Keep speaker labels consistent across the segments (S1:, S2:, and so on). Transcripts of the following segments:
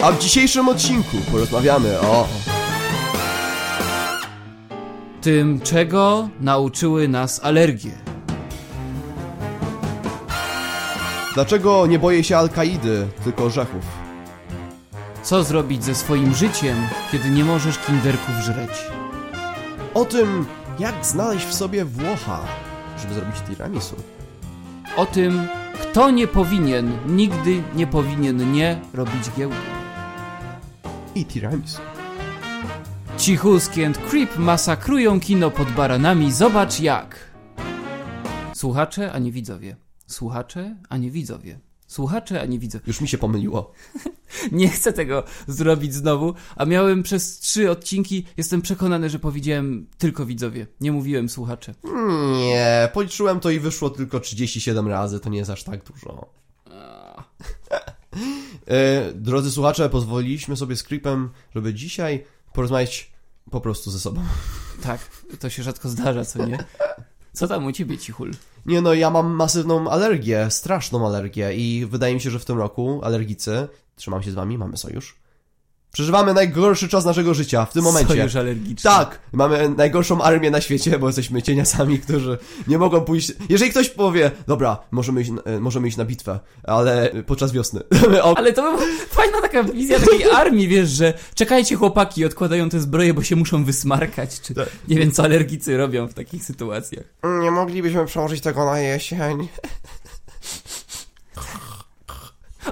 S1: A w dzisiejszym odcinku porozmawiamy o...
S2: Tym, czego nauczyły nas alergie.
S1: Dlaczego nie boję się Al-Kaidy, tylko orzechów?
S2: Co zrobić ze swoim życiem, kiedy nie możesz kinderków żreć.
S1: O tym, jak znaleźć w sobie Włocha, żeby zrobić tiramisu.
S2: O tym, kto nie powinien, nigdy nie powinien nie robić giełdy.
S1: I tiramisu.
S2: Cichuski and Creep masakrują kino pod baranami, zobacz jak. Słuchacze, a nie widzowie. Słuchacze, a nie widzowie. Słuchacze, a nie widzowie.
S1: Już mi się pomyliło.
S2: Nie chcę tego zrobić znowu, a miałem przez trzy odcinki, jestem przekonany, że powiedziałem tylko widzowie. Nie mówiłem słuchacze.
S1: Hmm, Nie, policzyłem to i wyszło tylko 37 razy, to nie jest aż tak dużo. E, Drodzy słuchacze, pozwoliliśmy sobie z Creepem, żeby dzisiaj porozmawiać po prostu ze sobą.
S2: Tak, to się rzadko zdarza, co nie? Co tam u ciebie, cichul?
S1: Nie no, ja mam masywną alergię, straszną alergię i wydaje mi się, że w tym roku alergicy, trzymam się z wami, mamy sojusz. Przeżywamy najgorszy czas naszego życia w tym momencie.
S2: Sojusz alergiczny.
S1: Tak, mamy najgorszą armię na świecie, bo jesteśmy cieniasami, którzy nie mogą pójść. Jeżeli ktoś powie, dobra, możemy iść, e, możemy iść na bitwę, ale e, podczas wiosny. o,
S2: Ale to była fajna taka wizja takiej armii, wiesz, że czekajcie chłopaki, odkładają te zbroje, bo się muszą wysmarkać, czy
S1: Tak.
S2: nie wiem, co alergicy robią w takich sytuacjach.
S1: Nie moglibyśmy przełożyć tego na jesień.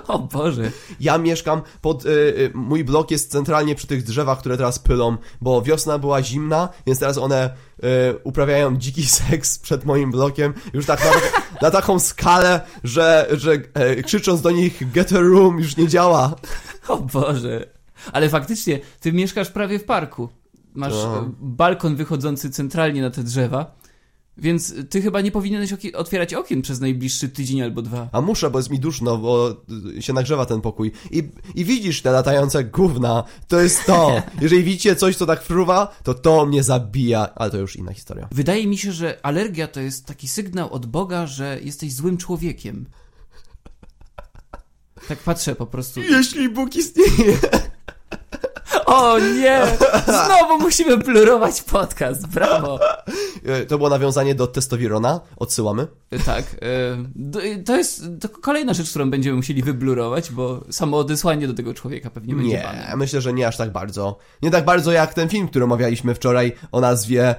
S2: O Boże,
S1: Ja mieszkam pod. Y, y, mój blok jest centralnie przy tych drzewach, które teraz pylą, bo wiosna była zimna, więc teraz one y, uprawiają dziki seks przed moim blokiem. Już tak na, na taką skalę, że, że e, krzycząc do nich get a room już nie działa.
S2: o Boże. Ale faktycznie, ty mieszkasz prawie w parku. Masz
S1: No.
S2: e, balkon wychodzący centralnie na te drzewa, więc ty chyba nie powinieneś oki- otwierać okien przez najbliższy tydzień albo dwa.
S1: A muszę, bo jest mi duszno, bo y, się nagrzewa ten pokój. I, i widzisz te latające gówna. To jest to. Jeżeli widzicie coś, co tak fruwa, to to mnie zabija. Ale to już inna historia.
S2: Wydaje mi się, że alergia to jest taki sygnał od Boga, że jesteś złym człowiekiem. Tak patrzę po prostu.
S1: Jeśli Bóg istnieje.
S2: O nie! Znowu musimy plurować podcast, brawo!
S1: Y, To było nawiązanie do testowerona. Odsyłamy.
S2: Tak, e, d- to jest to kolejna rzecz, którą będziemy musieli wyblurować, bo samo odesłanie do tego człowieka pewnie będzie
S1: Nie,
S2: bane.
S1: myślę, że nie aż tak bardzo. Nie tak bardzo jak ten film, który omawialiśmy wczoraj o nazwie.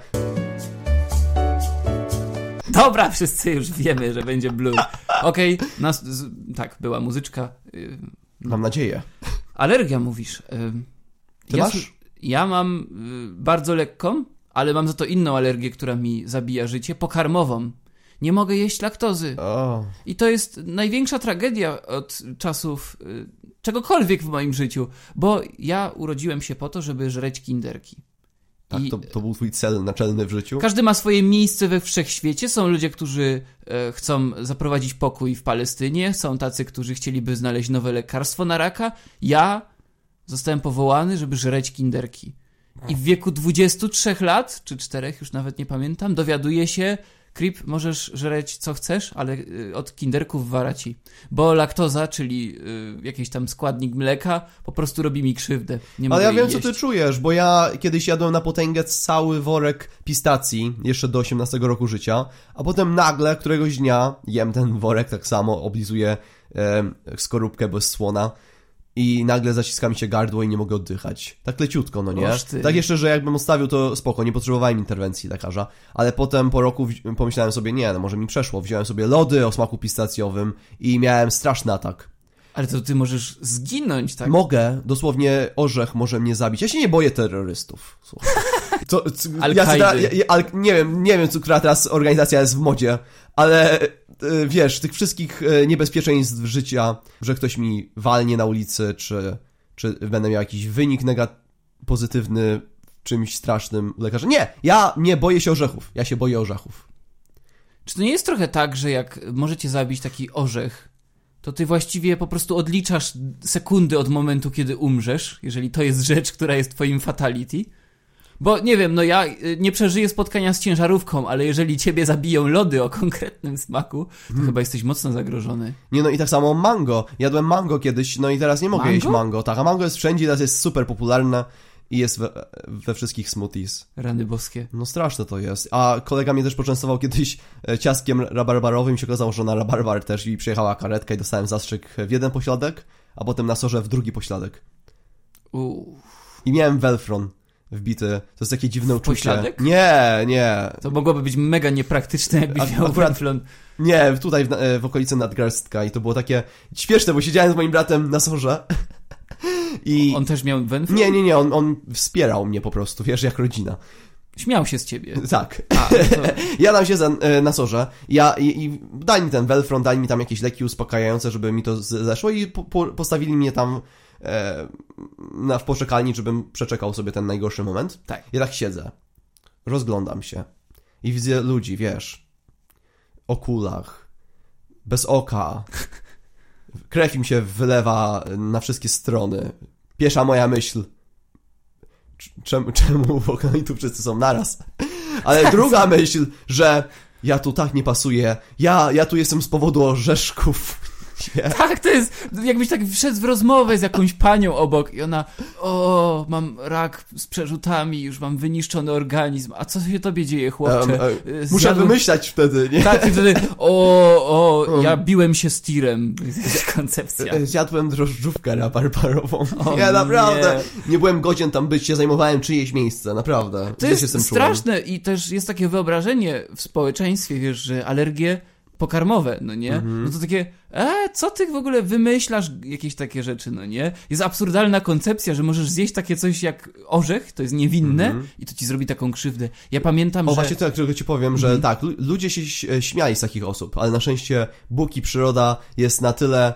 S2: Dobra, wszyscy już wiemy, że będzie blur. Okej, nas- z- tak, była muzyczka. y,
S1: Mam nadzieję.
S2: Alergia mówisz. y,
S1: Ty masz?
S2: s- Ja mam y, bardzo lekką, ale mam za to inną alergię, która mi zabija życie, pokarmową. Nie mogę jeść laktozy.
S1: O.
S2: I to jest największa tragedia od czasów y, czegokolwiek w moim życiu, bo ja urodziłem się po to, żeby żreć kinderki.
S1: Tak,
S2: I
S1: to, to był twój cel naczelny w życiu.
S2: każdy ma swoje miejsce we wszechświecie. Są ludzie, którzy e, chcą zaprowadzić pokój w Palestynie, są tacy, którzy chcieliby znaleźć nowe lekarstwo na raka. Ja zostałem powołany, żeby żreć kinderki. I w wieku 23 lat, czy 4, już nawet nie pamiętam, dowiaduje się, Krip, możesz żreć co chcesz, ale y, od kinderków wara ci. Bo laktoza, czyli y, jakiś tam składnik mleka, po prostu robi mi krzywdę. Nie
S1: Ale
S2: mogę
S1: ja
S2: jej
S1: wiem, co
S2: jeść.
S1: ty czujesz, bo ja kiedyś jadłem na potęgę cały worek pistacji, jeszcze do 18 roku życia, a potem nagle któregoś dnia jem ten worek, tak samo oblizuję em, skorupkę bez słona i nagle zaciska mi się gardło i nie mogę oddychać. Tak leciutko, no nie?
S2: Oż ty.
S1: Tak jeszcze, że jakbym odstawił, to spoko, nie potrzebowałem interwencji lekarza, ale potem po roku wzi- pomyślałem sobie, nie, no może mi przeszło, wziąłem sobie lody o smaku pistacjowym i miałem straszny atak.
S2: Ale to ty możesz zginąć, tak?
S1: Mogę, dosłownie orzech może mnie zabić. Ja się nie boję terrorystów. słuchaj. To, c- ja, se
S2: Al-Kaidy.
S1: teraz- ja, ja, al, nie wiem, nie wiem, co, która teraz organizacja jest w modzie, ale e, wiesz, tych wszystkich e, niebezpieczeństw życia, że ktoś mi walnie na ulicy, czy, czy będę miał jakiś wynik negat pozytywny w czymś strasznym u lekarza. Nie, ja nie boję się orzechów. Ja się boję orzechów.
S2: Czy to nie jest trochę tak, że jak możecie zabić taki orzech, to ty właściwie po prostu odliczasz sekundy od momentu, kiedy umrzesz, jeżeli to jest rzecz, która jest twoim fatality? Bo nie wiem, no ja y, nie przeżyję spotkania z ciężarówką, ale jeżeli ciebie zabiją lody o konkretnym smaku, to
S1: Hmm.
S2: chyba jesteś mocno zagrożony.
S1: Nie no i tak samo mango. Jadłem mango kiedyś, no i teraz nie mogę
S2: Mango?
S1: jeść mango. Tak, a mango jest wszędzie, teraz jest super popularne i jest we, we wszystkich smoothies.
S2: Rany boskie.
S1: No straszne to jest. A kolega mnie też poczęstował kiedyś e, ciastkiem rabarbarowym i się okazało, że na rabarbar też i przyjechała karetka i dostałem zastrzyk w jeden pośladek, a potem na sorze w drugi pośladek.
S2: Uuu.
S1: I miałem welfron wbity. To jest takie dziwne uczucie.
S2: pośladek?
S1: Nie, nie.
S2: To mogłoby być mega niepraktyczne,
S1: A-
S2: jakbyś miał
S1: akurat-
S2: Wraflon.
S1: Nie, tutaj w, e, w okolicy nadgarstka i to było takie śmieszne, bo siedziałem z moim bratem na sorze i...
S2: On też miał Wenflon?
S1: Nie, nie, nie, on, on wspierał mnie po prostu, wiesz, jak rodzina.
S2: Śmiał się z ciebie.
S1: Tak.
S2: A, no to...
S1: Ja tam siedzę e, na sorze ja, i, i daj mi ten Welfron, daj mi tam jakieś leki uspokajające, żeby mi to z- zeszło i po, po, postawili mnie tam e, na, w poczekalni, żebym przeczekał sobie ten najgorszy moment.
S2: Tak.
S1: Ja tak siedzę, rozglądam się i widzę ludzi, wiesz, o kulach, bez oka, krew im się wylewa na wszystkie strony. Piesza moja myśl. Cz- Czemu, czemu w ogóle tu wszyscy są naraz? Ale druga myśl, że ja tu tak nie pasuję. Ja, ja tu jestem z powodu orzeszków. Nie.
S2: Tak, to jest, jakbyś tak wszedł w rozmowę z jakąś panią obok i ona, o, mam rak z przerzutami, już mam wyniszczony organizm, a co się tobie dzieje, chłopcze?
S1: Em,
S2: Um,
S1: em, muszę wymyślać wtedy, nie?
S2: Tak, i wtedy, o, o, ja biłem się z tirem. Koncepcja.
S1: Zjadłem drożdżówkę rabarbarową.
S2: O
S1: ja naprawdę
S2: nie.
S1: nie. byłem godzien tam być, ja zajmowałem czyjeś miejsce, naprawdę.
S2: To
S1: Źle
S2: jest
S1: się z tym czułem.
S2: straszne i też jest takie wyobrażenie w społeczeństwie, wiesz, że alergie pokarmowe, no nie?
S1: Mhm.
S2: No to takie, e, co ty w ogóle wymyślasz jakieś takie rzeczy, no nie? Jest absurdalna koncepcja, że możesz zjeść takie coś jak orzech, to jest niewinne i to ci zrobi taką krzywdę. Ja pamiętam,
S1: Mhm. O,
S2: że... Mhm.
S1: właśnie to, tylko ci powiem, że tak, lu- ludzie się ś- śmiali z takich osób, ale na szczęście Bóg i przyroda jest na tyle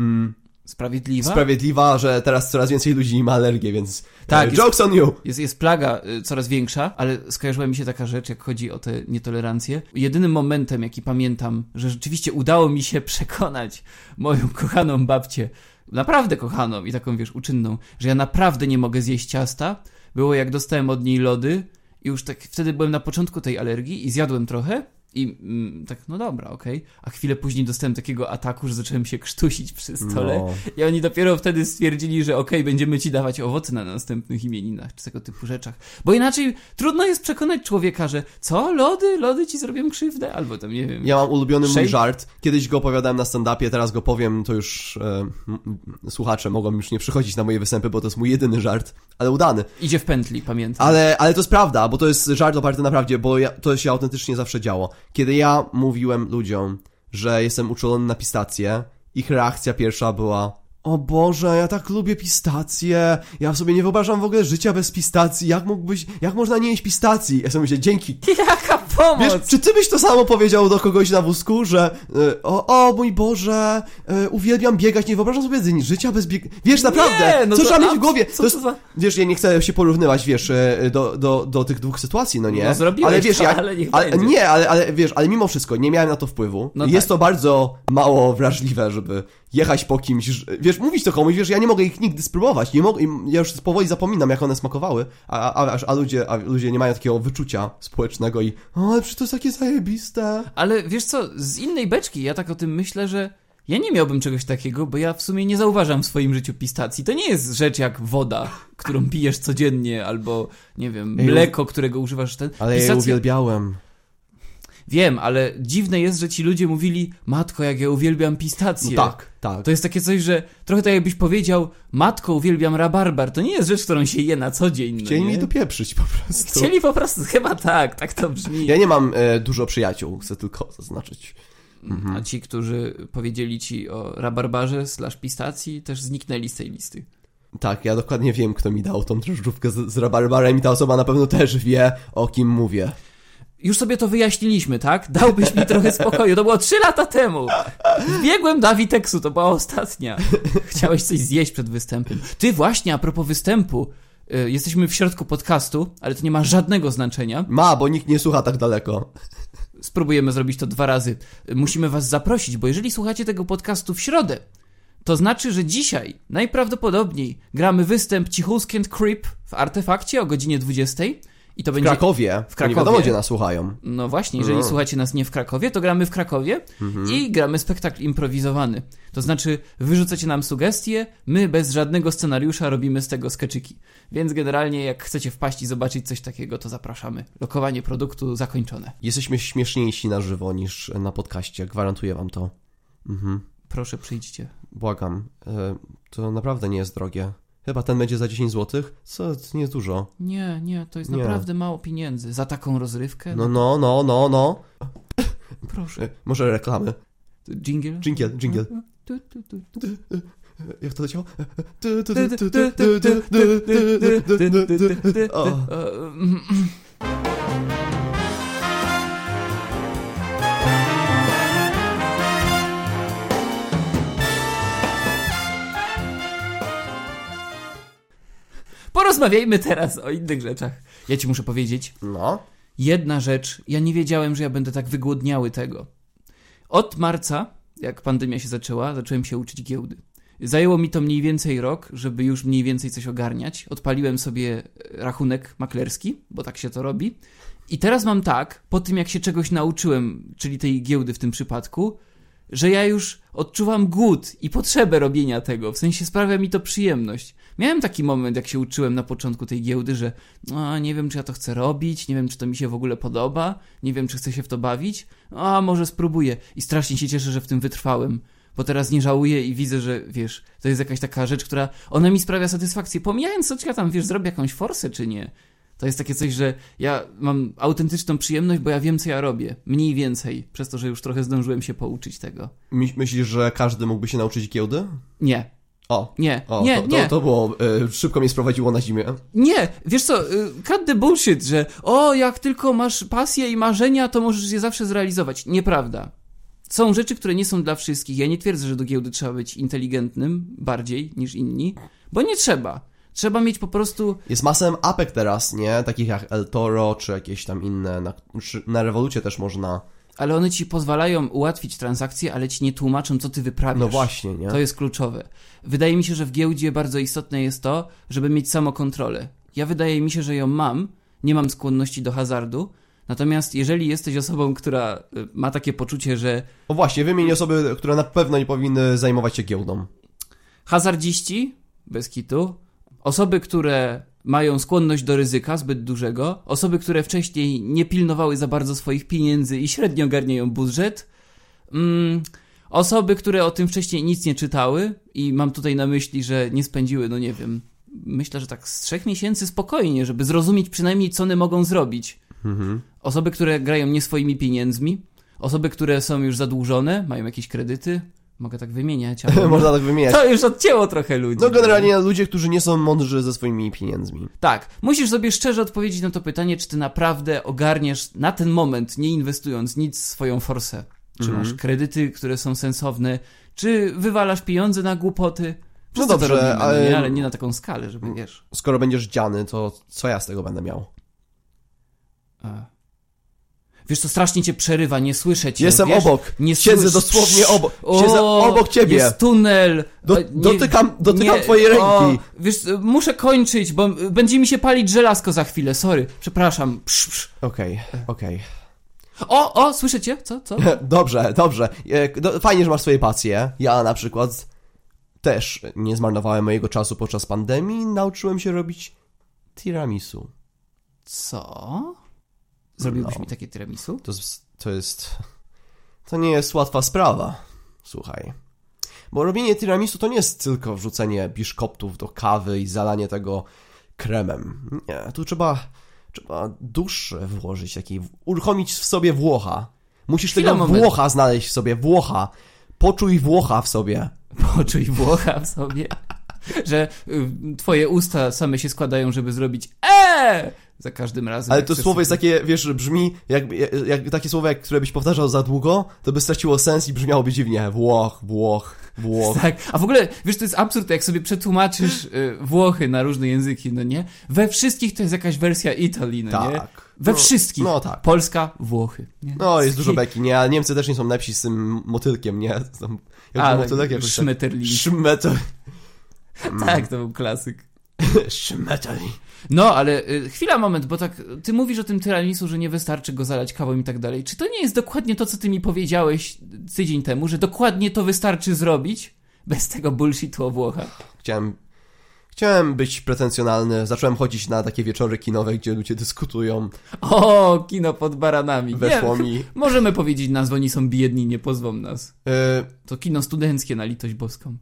S1: mm,
S2: Sprawiedliwa?
S1: sprawiedliwa, że teraz coraz więcej ludzi ma alergię, więc
S2: Tak,
S1: tak,
S2: jest-
S1: jokes on you!
S2: Jest, jest plaga y, coraz większa, ale skojarzyła mi się taka rzecz, jak chodzi o te nietolerancje. Jedynym momentem, jaki pamiętam, że rzeczywiście udało mi się przekonać moją kochaną babcię, naprawdę kochaną i taką, wiesz, uczynną, że ja naprawdę nie mogę zjeść ciasta, było jak dostałem od niej lody i już tak wtedy byłem na początku tej alergii i zjadłem trochę i mm, tak, no dobra, okej. A chwilę później dostałem takiego ataku, że zacząłem się krztusić przy stole.
S1: No.
S2: I oni dopiero wtedy stwierdzili, że okej, będziemy ci dawać owoce na następnych imieninach, czy tego typu rzeczach. Bo inaczej trudno jest przekonać człowieka, że co, lody, lody ci zrobią krzywdę? Albo tam, nie wiem.
S1: Ja mam ulubiony mój
S2: Shake?
S1: żart. Kiedyś go opowiadałem na stand-upie, teraz go powiem, to już e, m- m- słuchacze mogą już nie przychodzić na moje występy, bo to jest mój jedyny żart, ale udany.
S2: Idzie w pętli, pamiętam.
S1: Ale, ale to jest prawda, bo to jest żart oparty na prawdzie, bo ja, to się autentycznie zawsze działo. Kiedy ja mówiłem ludziom, że jestem uczulony na pistacje, ich reakcja pierwsza była o Boże, ja tak lubię pistacje, ja sobie nie wyobrażam w ogóle życia bez pistacji, jak mógłbyś, jak można nie jeść pistacji? Ja sobie myślę, dzięki,
S2: Jaka pomoc!
S1: Wiesz, czy ty byś to samo powiedział do kogoś na wózku, że y, o, o mój Boże, y, uwielbiam biegać, nie wyobrażam sobie dni- życia bez bieg... Wiesz, naprawdę,
S2: Nie, no
S1: co
S2: to
S1: trzeba mieć w
S2: abs-
S1: głowie?
S2: co
S1: to jest,
S2: to za-
S1: Wiesz, ja nie chcę się porównywać, wiesz, y, do, do, do tych dwóch sytuacji, no nie?
S2: No, zrobiłeś
S1: ale wiesz,
S2: to,
S1: ja,
S2: ale niech
S1: ale,
S2: będzie.
S1: Nie, ale, ale wiesz, ale mimo wszystko nie miałem na to wpływu.
S2: No
S1: jest
S2: tak.
S1: to bardzo mało wrażliwe, żeby jechać po kimś, ż- wiesz, mówić to komuś, wiesz, ja nie mogę ich nigdy spróbować, nie mogę, im- ja już powoli zapominam, jak one smakowały, a, a, a, a, ludzie, a ludzie nie mają takiego wyczucia społecznego i o, ale przecież to jest takie zajebiste.
S2: Ale wiesz co, z innej beczki ja tak o tym myślę, że ja nie miałbym czegoś takiego, bo ja w sumie nie zauważam w swoim życiu pistacji. To nie jest rzecz jak woda, którą pijesz codziennie, albo nie wiem,
S1: Ej,
S2: mleko, którego używasz ten.
S1: Ale ja je
S2: Pistacja-
S1: uwielbiałem.
S2: Wiem, ale dziwne jest, że ci ludzie mówili, matko, jak ja uwielbiam pistacje.
S1: No tak, tak.
S2: To jest takie coś, że trochę tak jakbyś powiedział, matko, uwielbiam rabarbar. To nie jest rzecz, którą się je na co dzień.
S1: Chcieli
S2: no, nie?
S1: mi dopieprzyć po prostu.
S2: Chcieli po prostu, chyba tak, tak to brzmi.
S1: Ja nie mam e, dużo przyjaciół, chcę tylko zaznaczyć.
S2: A ci, którzy powiedzieli ci o rabarbarze slash pistacji, też zniknęli z tej listy.
S1: Tak, ja dokładnie wiem, kto mi dał tą drożdżówkę z, z rabarbarem i ta osoba na pewno też wie, o kim mówię.
S2: Już sobie to wyjaśniliśmy, tak? Dałbyś mi trochę spokoju. To było trzy lata temu. Biegłem do Awiteksu, to była ostatnia. Chciałeś coś zjeść przed występem. Ty właśnie, a propos występu, y, jesteśmy w środku podcastu, ale to nie ma żadnego znaczenia.
S1: Ma, bo nikt nie słucha tak daleko.
S2: Spróbujemy zrobić to dwa razy. Y, Musimy was zaprosić, bo jeżeli słuchacie tego podcastu w środę, To znaczy, że dzisiaj najprawdopodobniej gramy występ Cichusk and Creep w Artefakcie o godzinie 20 i to
S1: W
S2: będzie...
S1: Krakowie.
S2: w Krakowie.
S1: Nie wiadomo, gdzie nas słuchają.
S2: No właśnie, jeżeli
S1: No.
S2: słuchacie nas nie w Krakowie, to gramy w Krakowie i gramy spektakl improwizowany. To znaczy, wyrzucacie nam sugestie, my bez żadnego scenariusza robimy z tego skeczyki. Więc generalnie, jak chcecie wpaść i zobaczyć coś takiego, to zapraszamy. Lokowanie produktu zakończone.
S1: Jesteśmy śmieszniejsi na żywo niż na podcaście, gwarantuję wam to. Mhm.
S2: Proszę, przyjdźcie.
S1: Błagam. E, To naprawdę nie jest drogie. Chyba ten będzie za 10 zł, co to nie jest dużo.
S2: Nie, nie, to jest
S1: Nie.
S2: naprawdę mało pieniędzy. Za taką rozrywkę?
S1: No, no, no, no, no.
S2: Proszę.
S1: E, Może reklamy.
S2: Jingle?
S1: Dżingiel, dżingiel. E,
S2: Tu, tu, tu.
S1: Jak to leciało? O.
S2: O. Porozmawiajmy teraz o innych rzeczach. Ja ci muszę powiedzieć,
S1: No.
S2: jedna rzecz, ja nie wiedziałem, że ja będę tak wygłodniały tego. Od marca, jak pandemia się zaczęła, zacząłem się uczyć giełdy. Zajęło mi to mniej więcej rok, żeby już mniej więcej coś ogarniać. Odpaliłem sobie e, rachunek maklerski, bo tak się to robi. I teraz mam tak, po tym jak się czegoś nauczyłem, czyli tej giełdy w tym przypadku, że ja już odczuwam głód i potrzebę robienia tego. W sensie sprawia mi to przyjemność. Miałem taki moment, jak się uczyłem na początku tej giełdy, że a, nie wiem, czy ja to chcę robić, nie wiem, czy to mi się w ogóle podoba, nie wiem, czy chcę się w to bawić, a może spróbuję. I strasznie się cieszę, że w tym wytrwałem, bo teraz nie żałuję i widzę, że wiesz, to jest jakaś taka rzecz, która, ona mi sprawia satysfakcję. Pomijając to, czy ja tam, wiesz, zrobię jakąś forsę, czy nie. To jest takie coś, że ja mam autentyczną przyjemność, bo ja wiem, co ja robię. Mniej więcej, przez to, że już trochę zdążyłem się pouczyć tego.
S1: My- Myślisz, że każdy mógłby się nauczyć giełdy?
S2: Nie,
S1: O.
S2: nie,
S1: O,
S2: nie,
S1: to, to,
S2: nie.
S1: to było, e, szybko mnie sprowadziło na zimę.
S2: Nie, wiesz co, y, cut the bullshit, że o, jak tylko masz pasję i marzenia, to możesz je zawsze zrealizować. Nieprawda. Są rzeczy, które nie są dla wszystkich. Ja nie twierdzę, że do giełdy trzeba być inteligentnym bardziej niż inni, bo nie trzeba. Trzeba mieć po prostu
S1: Jest masę apek teraz, nie? Takich jak El Toro, czy jakieś tam inne. Na, czy na rewolucie też można.
S2: ale one ci pozwalają ułatwić transakcje, ale ci nie tłumaczą, co ty wyprawiasz.
S1: No właśnie, nie?
S2: To jest kluczowe. Wydaje mi się, że w giełdzie bardzo istotne jest to, żeby mieć samokontrolę. Ja wydaje mi się, że ją mam, nie mam skłonności do hazardu. Natomiast jeżeli jesteś osobą, która y, ma takie poczucie, że
S1: O właśnie, wymień osoby, które na pewno nie powinny zajmować się giełdą.
S2: hazardziści, bez kitu, osoby, które mają skłonność do ryzyka zbyt dużego, osoby, które wcześniej nie pilnowały za bardzo swoich pieniędzy i średnio ogarniają budżet, mm, osoby, które o tym wcześniej nic nie czytały i mam tutaj na myśli, że nie spędziły, no nie wiem, myślę, że tak z trzech miesięcy spokojnie, żeby zrozumieć przynajmniej, co one mogą zrobić. Osoby, które grają nie swoimi pieniędzmi, osoby, które są już zadłużone, mają jakieś kredyty, mogę tak wymieniać, ale...
S1: Można tak wymieniać.
S2: To już odcięło trochę ludzi.
S1: No generalnie ludzie, którzy nie są mądrzy ze swoimi pieniędzmi.
S2: Tak, musisz sobie szczerze odpowiedzieć na to pytanie, czy ty naprawdę ogarniesz na ten moment, nie inwestując nic, swoją forsę. Czy
S1: Mhm.
S2: masz kredyty, które są sensowne, czy wywalasz pieniądze na głupoty. Wszyscy
S1: No dobrze,
S2: to robimy, ale...
S1: ale- Mm.
S2: Nie, ale nie na taką skalę, żeby wiesz.
S1: Skoro będziesz dziany, to co ja z tego będę miał?
S2: A. Wiesz, to strasznie cię przerywa, nie słyszę cię.
S1: Jestem
S2: wiesz?
S1: obok.
S2: Nie
S1: Siedzę
S2: słysz-
S1: dosłownie obok.
S2: O,
S1: Siedzę obok ciebie.
S2: Jest tunel.
S1: Do,
S2: E, nie-
S1: dotykam dotykam
S2: Nie,
S1: twojej ręki.
S2: O, wiesz, y, muszę kończyć, bo y, będzie mi się palić żelazko za chwilę, sorry. Przepraszam. Psz, psz.
S1: Okej, okej.
S2: O, o, słyszycie? Co, co?
S1: Dobrze, dobrze. E, do- Fajnie, że masz swoje pasje. Ja na przykład też nie zmarnowałem mojego czasu podczas pandemii. Nauczyłem się robić tiramisu.
S2: Co? Zrobiłbyś
S1: No.
S2: mi takie tiramisu?
S1: To, z- to jest... To nie jest łatwa sprawa. Słuchaj. Bo robienie tiramisu to nie jest tylko wrzucenie biszkoptów do kawy i zalanie tego kremem. Nie, tu trzeba... Trzeba duszy włożyć, taki, uruchomić w sobie Włocha. Musisz
S2: Chwila,
S1: tego
S2: moment.
S1: Włocha znaleźć w sobie, Włocha. Poczuj Włocha w sobie.
S2: Tak, Poczuj Włocha w sobie. Że y, twoje usta same się składają, żeby zrobić eee! Za każdym razem.
S1: Ale
S2: jak
S1: to
S2: chcesz
S1: słowo jest
S2: sobie-
S1: takie, wiesz, brzmi, jak, jak, jak takie słowo, jak, które byś powtarzał za długo, to by straciło sens i brzmiałoby dziwnie. Włoch, Włoch, Włoch.
S2: Tak, a w ogóle, wiesz, to jest absurd, jak sobie przetłumaczysz y, Włochy na różne języki, no nie? We wszystkich to jest jakaś wersja Italii, no nie?
S1: Tak.
S2: We
S1: No,
S2: wszystkich.
S1: no tak.
S2: Polska, Włochy. Nie?
S1: No, jest dużo
S2: Taki-
S1: beki, nie? A Niemcy też nie są lepsi z tym motylkiem, nie? Tam, jak
S2: Ale
S1: motylek jakoś tak- Mm.
S2: Schmetterling.
S1: Szmetel.
S2: Tak, to był klasyk.
S1: Szmetel.
S2: No, ale y, chwila, moment, bo tak y, ty mówisz o tym tyranisu, że nie wystarczy go zalać kawą i tak dalej. Czy to nie jest dokładnie to, co ty mi powiedziałeś tydzień temu, że dokładnie to wystarczy zrobić bez tego bullshitu o Włochach?
S1: Chciałem, chciałem być pretensjonalny. Zacząłem chodzić na takie wieczory kinowe, gdzie ludzie dyskutują.
S2: O, kino pod baranami.
S1: Weszło
S2: nie,
S1: mi.
S2: możemy powiedzieć nazwę, oni są biedni, nie pozwą nas.
S1: Y,
S2: To kino studenckie na litość boską.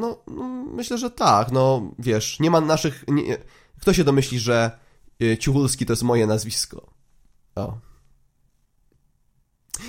S1: No, no, myślę, że tak. No, wiesz, nie ma naszych... Nie, kto się domyśli, że y, Cichulski to jest moje nazwisko? O.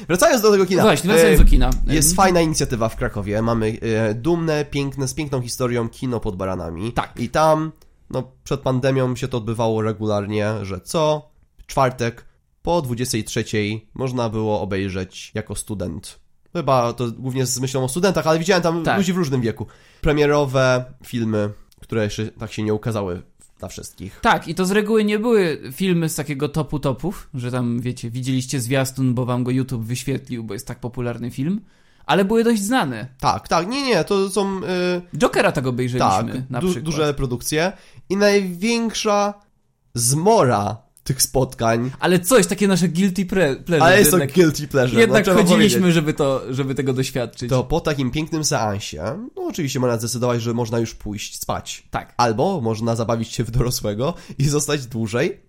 S1: Wracając do tego kina.
S2: No właśnie, wracając
S1: Y,
S2: do kina. Mhm.
S1: Jest
S2: Ym,
S1: fajna inicjatywa w Krakowie. Mamy e, dumne, piękne, z piękną historią kino pod baranami.
S2: Tak.
S1: I tam, no, przed pandemią się to odbywało regularnie, że co czwartek po 23 można było obejrzeć jako student. Chyba to głównie z myślą o studentach, ale widziałem tam
S2: Tak.
S1: ludzi w różnym wieku. Premierowe filmy, które jeszcze tak się nie ukazały dla wszystkich.
S2: Tak, i to z reguły nie były filmy z takiego topu topów, że tam, wiecie, widzieliście zwiastun, bo wam go YouTube wyświetlił, bo jest tak popularny film, ale były dość znane.
S1: Tak, tak, nie, nie, to są... y,
S2: Jokera tego
S1: Tak,
S2: obejrzeliśmy na
S1: du-
S2: przykład.
S1: duże produkcje. I największa zmora tych spotkań,
S2: Ale coś, takie nasze guilty pre- pleasure.
S1: ale jest to
S2: jednak
S1: guilty pleasure.
S2: jednak
S1: no, trzeba powiedzieć.
S2: chodziliśmy, żeby, to, żeby tego doświadczyć.
S1: To po takim pięknym seansie, no oczywiście można zdecydować, że można już pójść spać.
S2: Tak.
S1: Albo można zabawić się w dorosłego i zostać dłużej.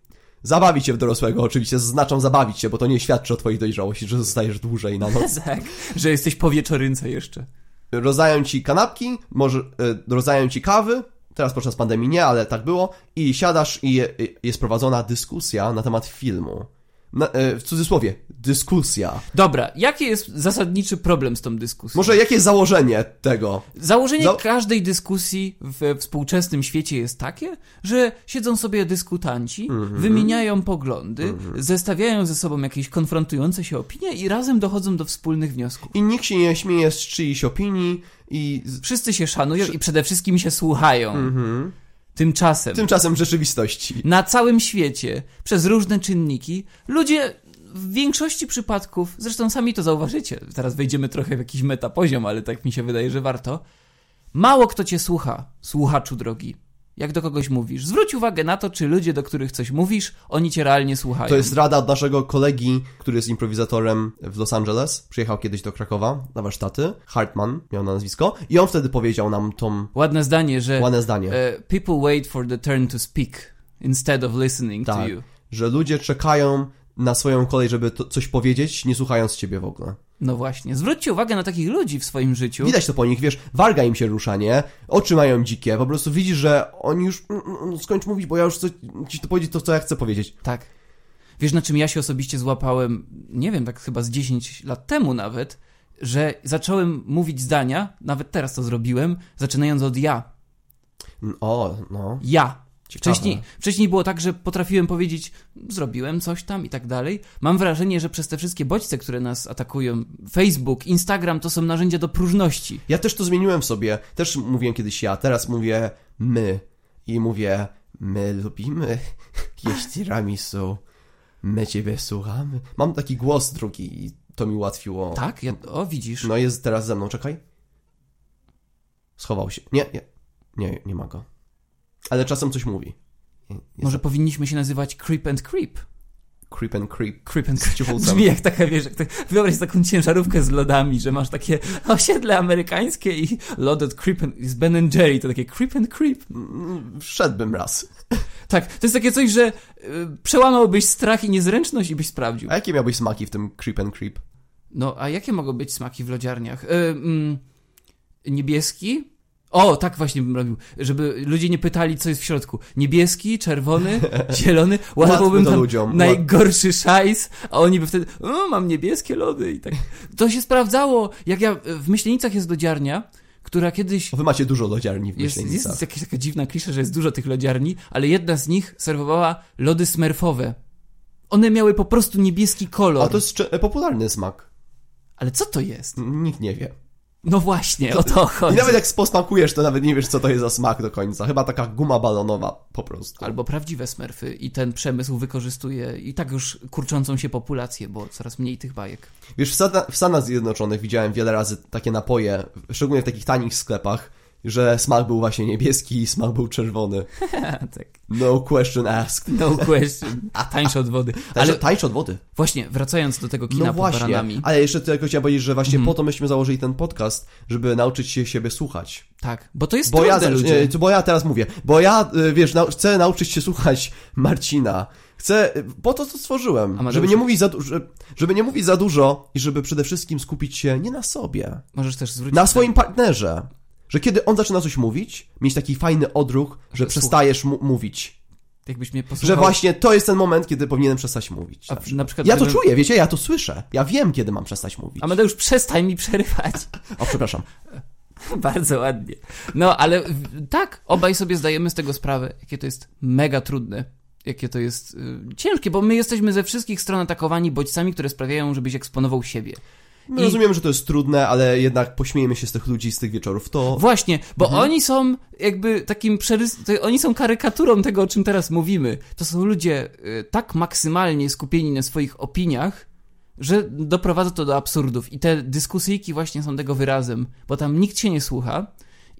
S1: Zabawić się w dorosłego, oczywiście znaczą zabawić się, bo to nie świadczy o twojej dojrzałości, że zostajesz dłużej na noc.
S2: tak, że jesteś po wieczorynce jeszcze.
S1: Rozdają ci kanapki, może e, rozdają ci kawy, teraz podczas pandemii nie, ale tak było, i siadasz i je, i jest prowadzona dyskusja na temat filmu. Na, e, w cudzysłowie, dyskusja.
S2: Dobra, jaki jest zasadniczy problem z tą dyskusją?
S1: Może No- jakie jest założenie tego?
S2: Założenie
S1: Za-
S2: każdej dyskusji we współczesnym świecie jest takie, że siedzą sobie dyskutanci,
S1: Mhm.
S2: wymieniają poglądy, zestawiają ze sobą jakieś konfrontujące się opinie i razem dochodzą do wspólnych wniosków.
S1: I nikt się nie śmieje z czyichś opinii i z...
S2: Wszyscy się szanują i przede wszystkim się słuchają.
S1: Mhm.
S2: Tymczasem
S1: tymczasem w rzeczywistości.
S2: na całym świecie przez różne czynniki ludzie w większości przypadków, zresztą sami to zauważycie, zaraz wejdziemy trochę w jakiś metapoziom, ale tak mi się wydaje, że warto. Mało kto cię słucha, słuchaczu drogi. Jak do kogoś mówisz, zwróć uwagę na to, czy ludzie, do których coś mówisz, oni cię realnie słuchają.
S1: To jest rada od naszego kolegi, który jest improwizatorem w Los Angeles. Przyjechał kiedyś do Krakowa na warsztaty. Hartman miał na nazwisko. I on wtedy powiedział nam tą
S2: ładne zdanie, że
S1: ładne zdanie.
S2: e, people wait for the turn to speak instead of listening to
S1: Tak,
S2: you.
S1: że ludzie czekają na swoją kolej, żeby to, coś powiedzieć, nie słuchając ciebie w ogóle.
S2: No właśnie, zwróćcie uwagę na takich ludzi w swoim życiu.
S1: Widać to po nich, wiesz, warga im się rusza, nie? Oczy mają dzikie, po prostu widzisz, że oni już, mm, mm, skończ mówić, bo ja już coś, ci to powiedzieć to, co ja chcę powiedzieć.
S2: Tak. Wiesz, na czym ja się osobiście złapałem, nie wiem, tak chyba z 10 lat temu nawet, że zacząłem mówić zdania, nawet teraz to zrobiłem, zaczynając od ja.
S1: Mm, O, no,
S2: Ja.
S1: ciekawe.
S2: Wcześniej, wcześniej było tak, że potrafiłem powiedzieć, zrobiłem coś tam i tak dalej. Mam wrażenie, że przez te wszystkie bodźce, które nas atakują, Facebook, Instagram to są narzędzia do próżności.
S1: Ja też to zmieniłem w sobie, też mówiłem kiedyś ja, teraz mówię my i mówię my lubimy jeść tiramisu, my ciebie słuchamy. Mam taki głos drugi i to mi ułatwiło.
S2: Tak? Ja, o, widzisz.
S1: No jest teraz ze mną, czekaj. Schował się. Nie, nie, nie, nie ma go. Ale czasem coś mówi. Nie- nie
S2: Może powinniśmy się nazywać Creep and Creep.
S1: za- Creep and creep.
S2: Creep and Creep.
S1: Cichulcem.
S2: Brzmi jak taka, wiesz, jak tak, wyobraź sobie taką ciężarówkę z lodami, że masz takie osiedle amerykańskie i lod od Creep and, z Ben and Jerry, to takie Creep and Creep.
S1: Mm, Wszedłbym raz.
S2: Tak, to jest takie coś, że y, przełamałbyś strach i niezręczność i byś sprawdził.
S1: A jakie miałbyś smaki w tym creep and creep?
S2: No, a jakie mogą być smaki w lodziarniach? Y, mm, niebieski? O, tak właśnie bym robił, żeby ludzie nie pytali, co jest w środku. Niebieski, czerwony, zielony, ładowałbym
S1: to
S2: tam
S1: ludziom.
S2: najgorszy szajs, a oni by wtedy, o, mam niebieskie lody i tak. To się sprawdzało, jak ja, w Myślenicach jest lodziarnia, która kiedyś
S1: Bo Wy macie dużo lodziarni w
S2: jest,
S1: Myślenicach.
S2: jest jakaś taka dziwna klisza, że jest dużo tych lodziarni, ale jedna z nich serwowała lody smerfowe. One miały po prostu niebieski kolor.
S1: A to jest cze- popularny smak.
S2: Ale co to jest?
S1: Nikt nie wie.
S2: No właśnie, o to chodzi.
S1: I nawet jak posmakujesz, to nawet nie wiesz, co to jest za smak do końca. Chyba taka guma balonowa po prostu.
S2: Albo prawdziwe smerfy i ten przemysł wykorzystuje i tak już kurczącą się populację, bo coraz mniej tych bajek.
S1: Wiesz, w, Stata- w Stanach Zjednoczonych widziałem wiele razy takie napoje, szczególnie w takich tanich sklepach, że smak był właśnie niebieski i smak był czerwony.
S2: tak.
S1: No question asked.
S2: No question. A tańsze od wody.
S1: Ale
S2: Ale
S1: tańsz od wody.
S2: właśnie, wracając do tego kina
S1: No
S2: pod
S1: właśnie.
S2: baranami. Mhm.
S1: Ale jeszcze tylko chciałem powiedzieć, że właśnie po to myśmy założyli ten podcast, żeby nauczyć się siebie słuchać.
S2: Tak, bo to jest
S1: Bo ja,
S2: trudne, ludzie.
S1: e, bo ja teraz mówię, bo ja, e, wiesz, nau- chcę nauczyć się słuchać Marcina. Chcę, e, po to to stworzyłem,
S2: Amadeuszu.
S1: żeby nie, mówić za du- że- żeby nie mówić za dużo i żeby przede wszystkim skupić się nie na sobie,
S2: Możesz też zwrócić
S1: na swoim partnerze. Że kiedy on zaczyna coś mówić, mieć taki fajny odruch, że
S2: Że
S1: przestajesz mu- mówić.
S2: Jakbyś mnie posłuchał.
S1: Że właśnie to jest ten moment, kiedy powinienem przestać mówić.
S2: A,
S1: na przykład.
S2: na przykład
S1: Ja to
S2: gdybym-
S1: czuję, wiecie, ja to słyszę. Ja wiem, kiedy mam przestać mówić.
S2: Amadeusz, przestań mi przerywać.
S1: O, przepraszam.
S2: Bardzo ładnie. No, ale w- tak, obaj sobie zdajemy z tego sprawę, jakie to jest mega trudne. Jakie to jest y, ciężkie, bo my jesteśmy ze wszystkich stron atakowani bodźcami, które sprawiają, żebyś eksponował siebie.
S1: My
S2: I-
S1: rozumiemy, że to jest trudne, ale jednak pośmiejemy się z tych ludzi, z tych wieczorów. To
S2: Właśnie, bo
S1: Mhm.
S2: oni są jakby takim przerys... to Oni są karykaturą tego, o czym teraz mówimy. To są ludzie y, tak maksymalnie skupieni na swoich opiniach, że doprowadza to do absurdów. I te dyskusyjki właśnie są tego wyrazem, bo tam nikt się nie słucha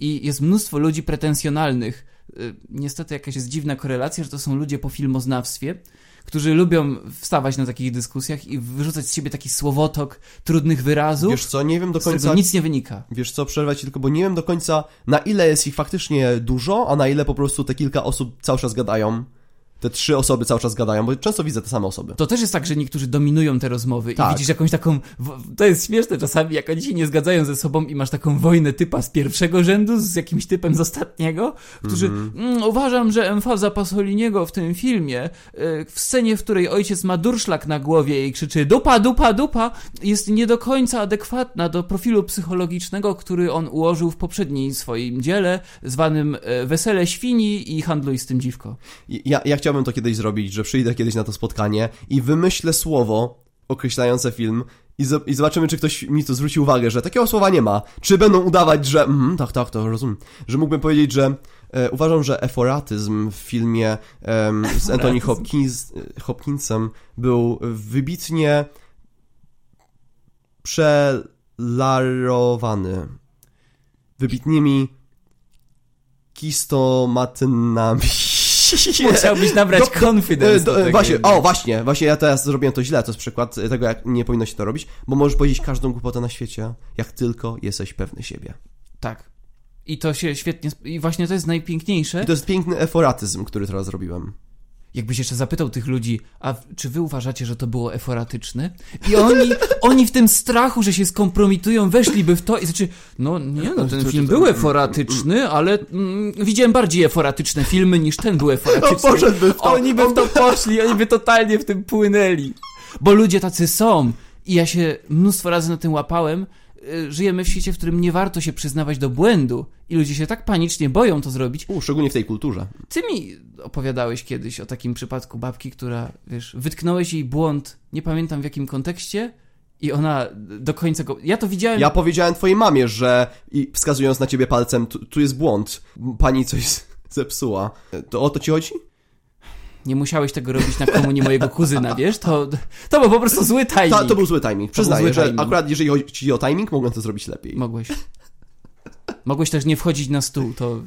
S2: i jest mnóstwo ludzi pretensjonalnych. Y, Niestety jakaś jest dziwna korelacja, że to są ludzie po filmoznawstwie, którzy lubią wstawać na takich dyskusjach i wyrzucać z siebie taki słowotok trudnych wyrazów,
S1: wiesz co, nie wiem do
S2: z którego
S1: końca.
S2: nic nie wynika.
S1: Wiesz co, przerwać ci tylko, bo nie wiem do końca, na ile jest ich faktycznie dużo, a na ile po prostu te kilka osób cały czas gadają. Te trzy osoby cały czas gadają, bo często widzę te same osoby.
S2: To też jest tak, że niektórzy dominują te rozmowy i
S1: Tak.
S2: widzisz jakąś taką. w- To jest śmieszne czasami, jak oni się nie zgadzają ze sobą i masz taką wojnę typa z pierwszego rzędu z jakimś typem z ostatniego, którzy.
S1: Mhm.
S2: Mm, uważam, że emfaza Pasoliniego w tym filmie, y, w scenie, w której ojciec ma durszlak na głowie i krzyczy dupa, dupa, dupa, jest nie do końca adekwatna do profilu psychologicznego, który on ułożył w poprzednim swoim dziele, zwanym y, Wesele Świni i Handluj z tym dziwko.
S1: I- Ja, ja chciałbym to kiedyś zrobić, że przyjdę kiedyś na to spotkanie i wymyślę słowo określające film i, zo- i zobaczymy, czy ktoś mi to zwróci uwagę, że takiego słowa nie ma. Czy będą udawać, że mhm, tak, tak, to rozumiem. Że mógłbym powiedzieć, że e, uważam, że eforatyzm w filmie em, z Anthony Hopkins, e, Hopkinsem był wybitnie przelarowany wybitnymi kistomatynami.
S2: Musiałbyś nabrać
S1: Do-
S2: confidence.
S1: E, do-
S2: do tego.
S1: właśnie, o, właśnie, właśnie ja teraz zrobiłem to źle, to jest przykład e, tego, jak nie powinno się to robić, bo możesz powiedzieć każdą głupotę na świecie, jak tylko jesteś pewny siebie.
S2: Tak. I to się świetnie. sp- I właśnie to jest najpiękniejsze.
S1: I to jest piękny eforatyzm, który teraz zrobiłem.
S2: Jakbyś jeszcze zapytał tych ludzi, a w- czy wy uważacie, że to było eforatyczne? I oni, oni w tym strachu, że się skompromitują, weszliby w to i znaczy, no nie, no ten
S1: znaczy,
S2: film był eforatyczny, ale mm, widziałem bardziej eforatyczne filmy niż ten był eforatyczny.
S1: No, poszedłby w to.
S2: Oni by w to poszli, oni by totalnie w tym płynęli. Bo ludzie tacy są. I ja się mnóstwo razy na tym łapałem. Y, Żyjemy w świecie, w którym nie warto się przyznawać do błędu i ludzie się tak panicznie boją to zrobić,
S1: U, szczególnie w tej kulturze.
S2: ty mi opowiadałeś kiedyś o takim przypadku babki, która, wiesz, wytknąłeś jej błąd, nie pamiętam w jakim kontekście, i ona do końca go. Ja to widziałem.
S1: Ja powiedziałem twojej mamie, że i wskazując na ciebie palcem, tu, tu jest błąd, pani coś z- zepsuła. E, To o to ci chodzi?
S2: Nie musiałeś tego robić na komunii mojego kuzyna, wiesz? To, to był po prostu zły timing.
S1: Ta, to był zły timing. Przyznaję,
S2: zły
S1: że
S2: timing.
S1: akurat jeżeli chodzi o timing, mogłem to zrobić lepiej.
S2: Mogłeś. Mogłeś też nie wchodzić na stół, to.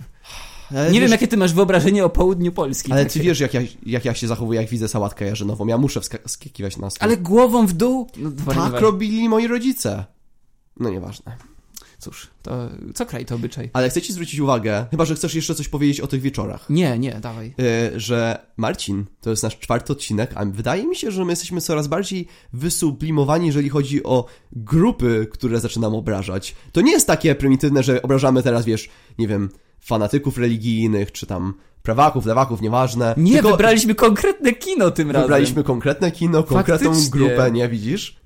S1: Ale
S2: Nie
S1: wiesz-
S2: wiem, jakie ty masz wyobrażenie o południu Polski. tak
S1: Ale
S2: takie.
S1: ty wiesz, jak ja, jak ja się zachowuję, jak widzę sałatkę jarzynową. Ja muszę wska- skakiwać na stół.
S2: Ale głową w dół? No, dobra,
S1: Tak
S2: nieważne.
S1: robili moi rodzice. No nieważne.
S2: Cóż, to co kraj to obyczaj?
S1: Ale chcę ci zwrócić uwagę, chyba że chcesz jeszcze coś powiedzieć o tych wieczorach.
S2: Nie, nie, dawaj.
S1: Yy, że Marcin, to jest nasz czwarty odcinek, a wydaje mi się, że my jesteśmy coraz bardziej wysublimowani, jeżeli chodzi o grupy, które zaczynam obrażać. To nie jest takie prymitywne, że obrażamy teraz, wiesz, nie wiem, fanatyków religijnych, czy tam prawaków, lewaków, nieważne.
S2: Nie,
S1: Tylko
S2: wybraliśmy konkretne kino tym razem.
S1: wybraliśmy konkretne kino, konkretną
S2: Faktycznie.
S1: grupę, nie widzisz?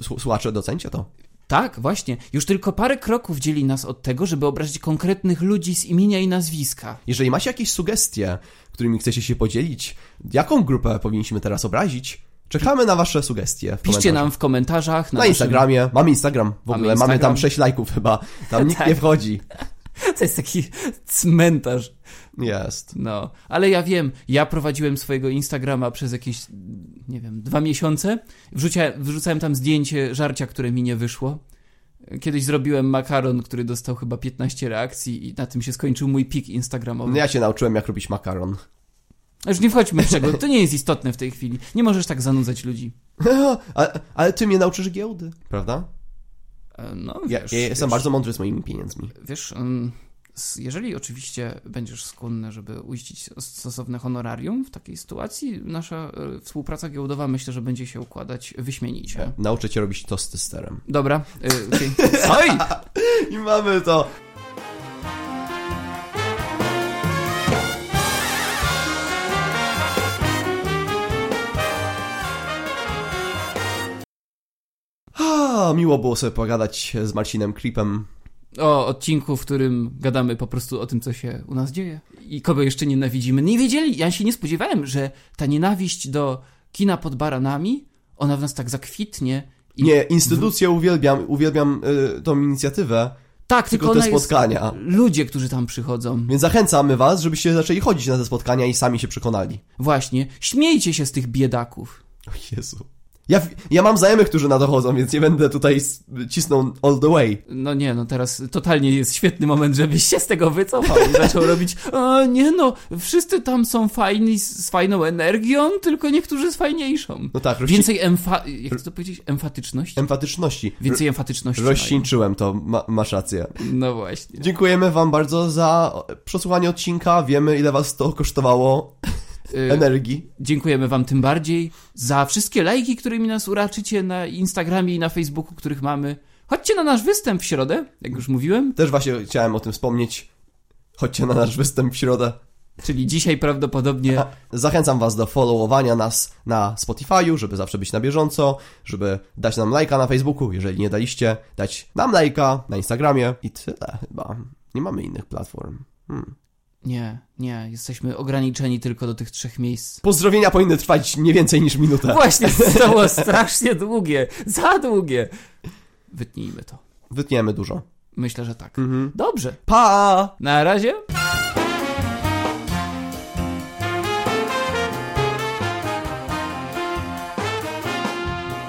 S1: S- Słuchacze, docencie to.
S2: Tak, właśnie. Już tylko parę kroków dzieli nas od tego, żeby obrazić konkretnych ludzi z imienia i nazwiska.
S1: Jeżeli macie jakieś sugestie, którymi chcecie się podzielić, jaką grupę powinniśmy teraz obrazić, Czekamy na wasze sugestie. w
S2: Piszcie
S1: komentarzach.
S2: nam w komentarzach.
S1: na
S2: naszym-
S1: Instagramie. Mamy Instagram w
S2: Mamy
S1: ogóle. Mamy
S2: Instagram.
S1: tam 6 lajków chyba. Tam nikt
S2: Tak.
S1: nie wchodzi.
S2: To jest taki cmentarz.
S1: Jest.
S2: No, ale ja wiem, ja prowadziłem swojego Instagrama przez jakieś, nie wiem, dwa miesiące. Wrzucia, wrzucałem tam zdjęcie żarcia, które mi nie wyszło. Kiedyś zrobiłem makaron, który dostał chyba 15 reakcji i na tym się skończył mój pik
S1: No
S2: instagramowy.
S1: Ja się nauczyłem, jak robić makaron.
S2: Już nie wchodźmy w czego, to nie jest istotne w tej chwili. Nie możesz tak zanudzać ludzi.
S1: ale, ale ty mnie nauczysz giełdy, prawda?
S2: E, No,
S1: Ja,
S2: wiesz,
S1: ja jestem
S2: wiesz,
S1: bardzo mądry z moimi pieniędzmi.
S2: Wiesz, ym, s- jeżeli oczywiście będziesz skłonny, żeby uiścić stosowne honorarium w takiej sytuacji, nasza y, współpraca giełdowa myślę, że będzie się układać wyśmienicie.
S1: Nauczę cię robić tosty z serem.
S2: Dobra. Y, okej. Oj!
S1: I mamy to. A, miło było sobie pogadać z Marcinem Klipem.
S2: O odcinku, w którym gadamy po prostu o tym, co się u nas dzieje i kogo jeszcze nienawidzimy. Nie wiedzieli, ja się nie spodziewałem, że ta nienawiść do kina pod baranami, ona w nas tak zakwitnie. I...
S1: Nie, instytucję uwielbiam, uwielbiam y, tą inicjatywę,
S2: tak, tylko,
S1: tylko te
S2: ona jest...
S1: spotkania.
S2: Ludzie, którzy tam przychodzą.
S1: Więc zachęcamy was, żebyście zaczęli chodzić na te spotkania i sami się przekonali.
S2: Właśnie, śmiejcie się z tych biedaków.
S1: O Jezu. Ja, ja mam znajomych, którzy na to chodzą, więc nie będę tutaj s- cisnął all the way.
S2: No nie, no teraz totalnie jest świetny moment, żebyś się z tego wycofał i zaczął robić e, nie no, wszyscy tam są fajni z z fajną energią, tylko niektórzy z fajniejszą.
S1: No tak, rości...
S2: Więcej emfa... jak to powiedzieć? Emfatyczność?
S1: Emfatyczności.
S2: Więcej emfatyczności.
S1: Rozcieńczyłem to, ma, masz rację.
S2: mają. No właśnie.
S1: Dziękujemy Wam bardzo za przesłuchanie odcinka. Wiemy, ile Was to kosztowało
S2: Y,
S1: energii.
S2: dziękujemy wam tym bardziej za wszystkie lajki, którymi nas uraczycie na Instagramie i na Facebooku, których mamy. Chodźcie na nasz występ w środę, jak już mówiłem,
S1: Też właśnie chciałem o tym wspomnieć. Chodźcie na nasz występ w środę.
S2: czyli dzisiaj prawdopodobnie
S1: Zachęcam Was do followowania nas na Spotify'u, żeby zawsze być na bieżąco, żeby dać nam lajka na Facebooku, jeżeli nie daliście, dać nam lajka na Instagramie i tyle chyba. Nie mamy innych platform. Hmm.
S2: Nie, nie, jesteśmy ograniczeni tylko do tych trzech miejsc.
S1: Pozdrowienia powinny trwać nie więcej niż minutę.
S2: Właśnie, to było strasznie długie, za długie. Wytnijmy to.
S1: Wytniemy dużo.
S2: Myślę, że tak.
S1: Mhm.
S2: Dobrze.
S1: Pa!
S2: Na razie.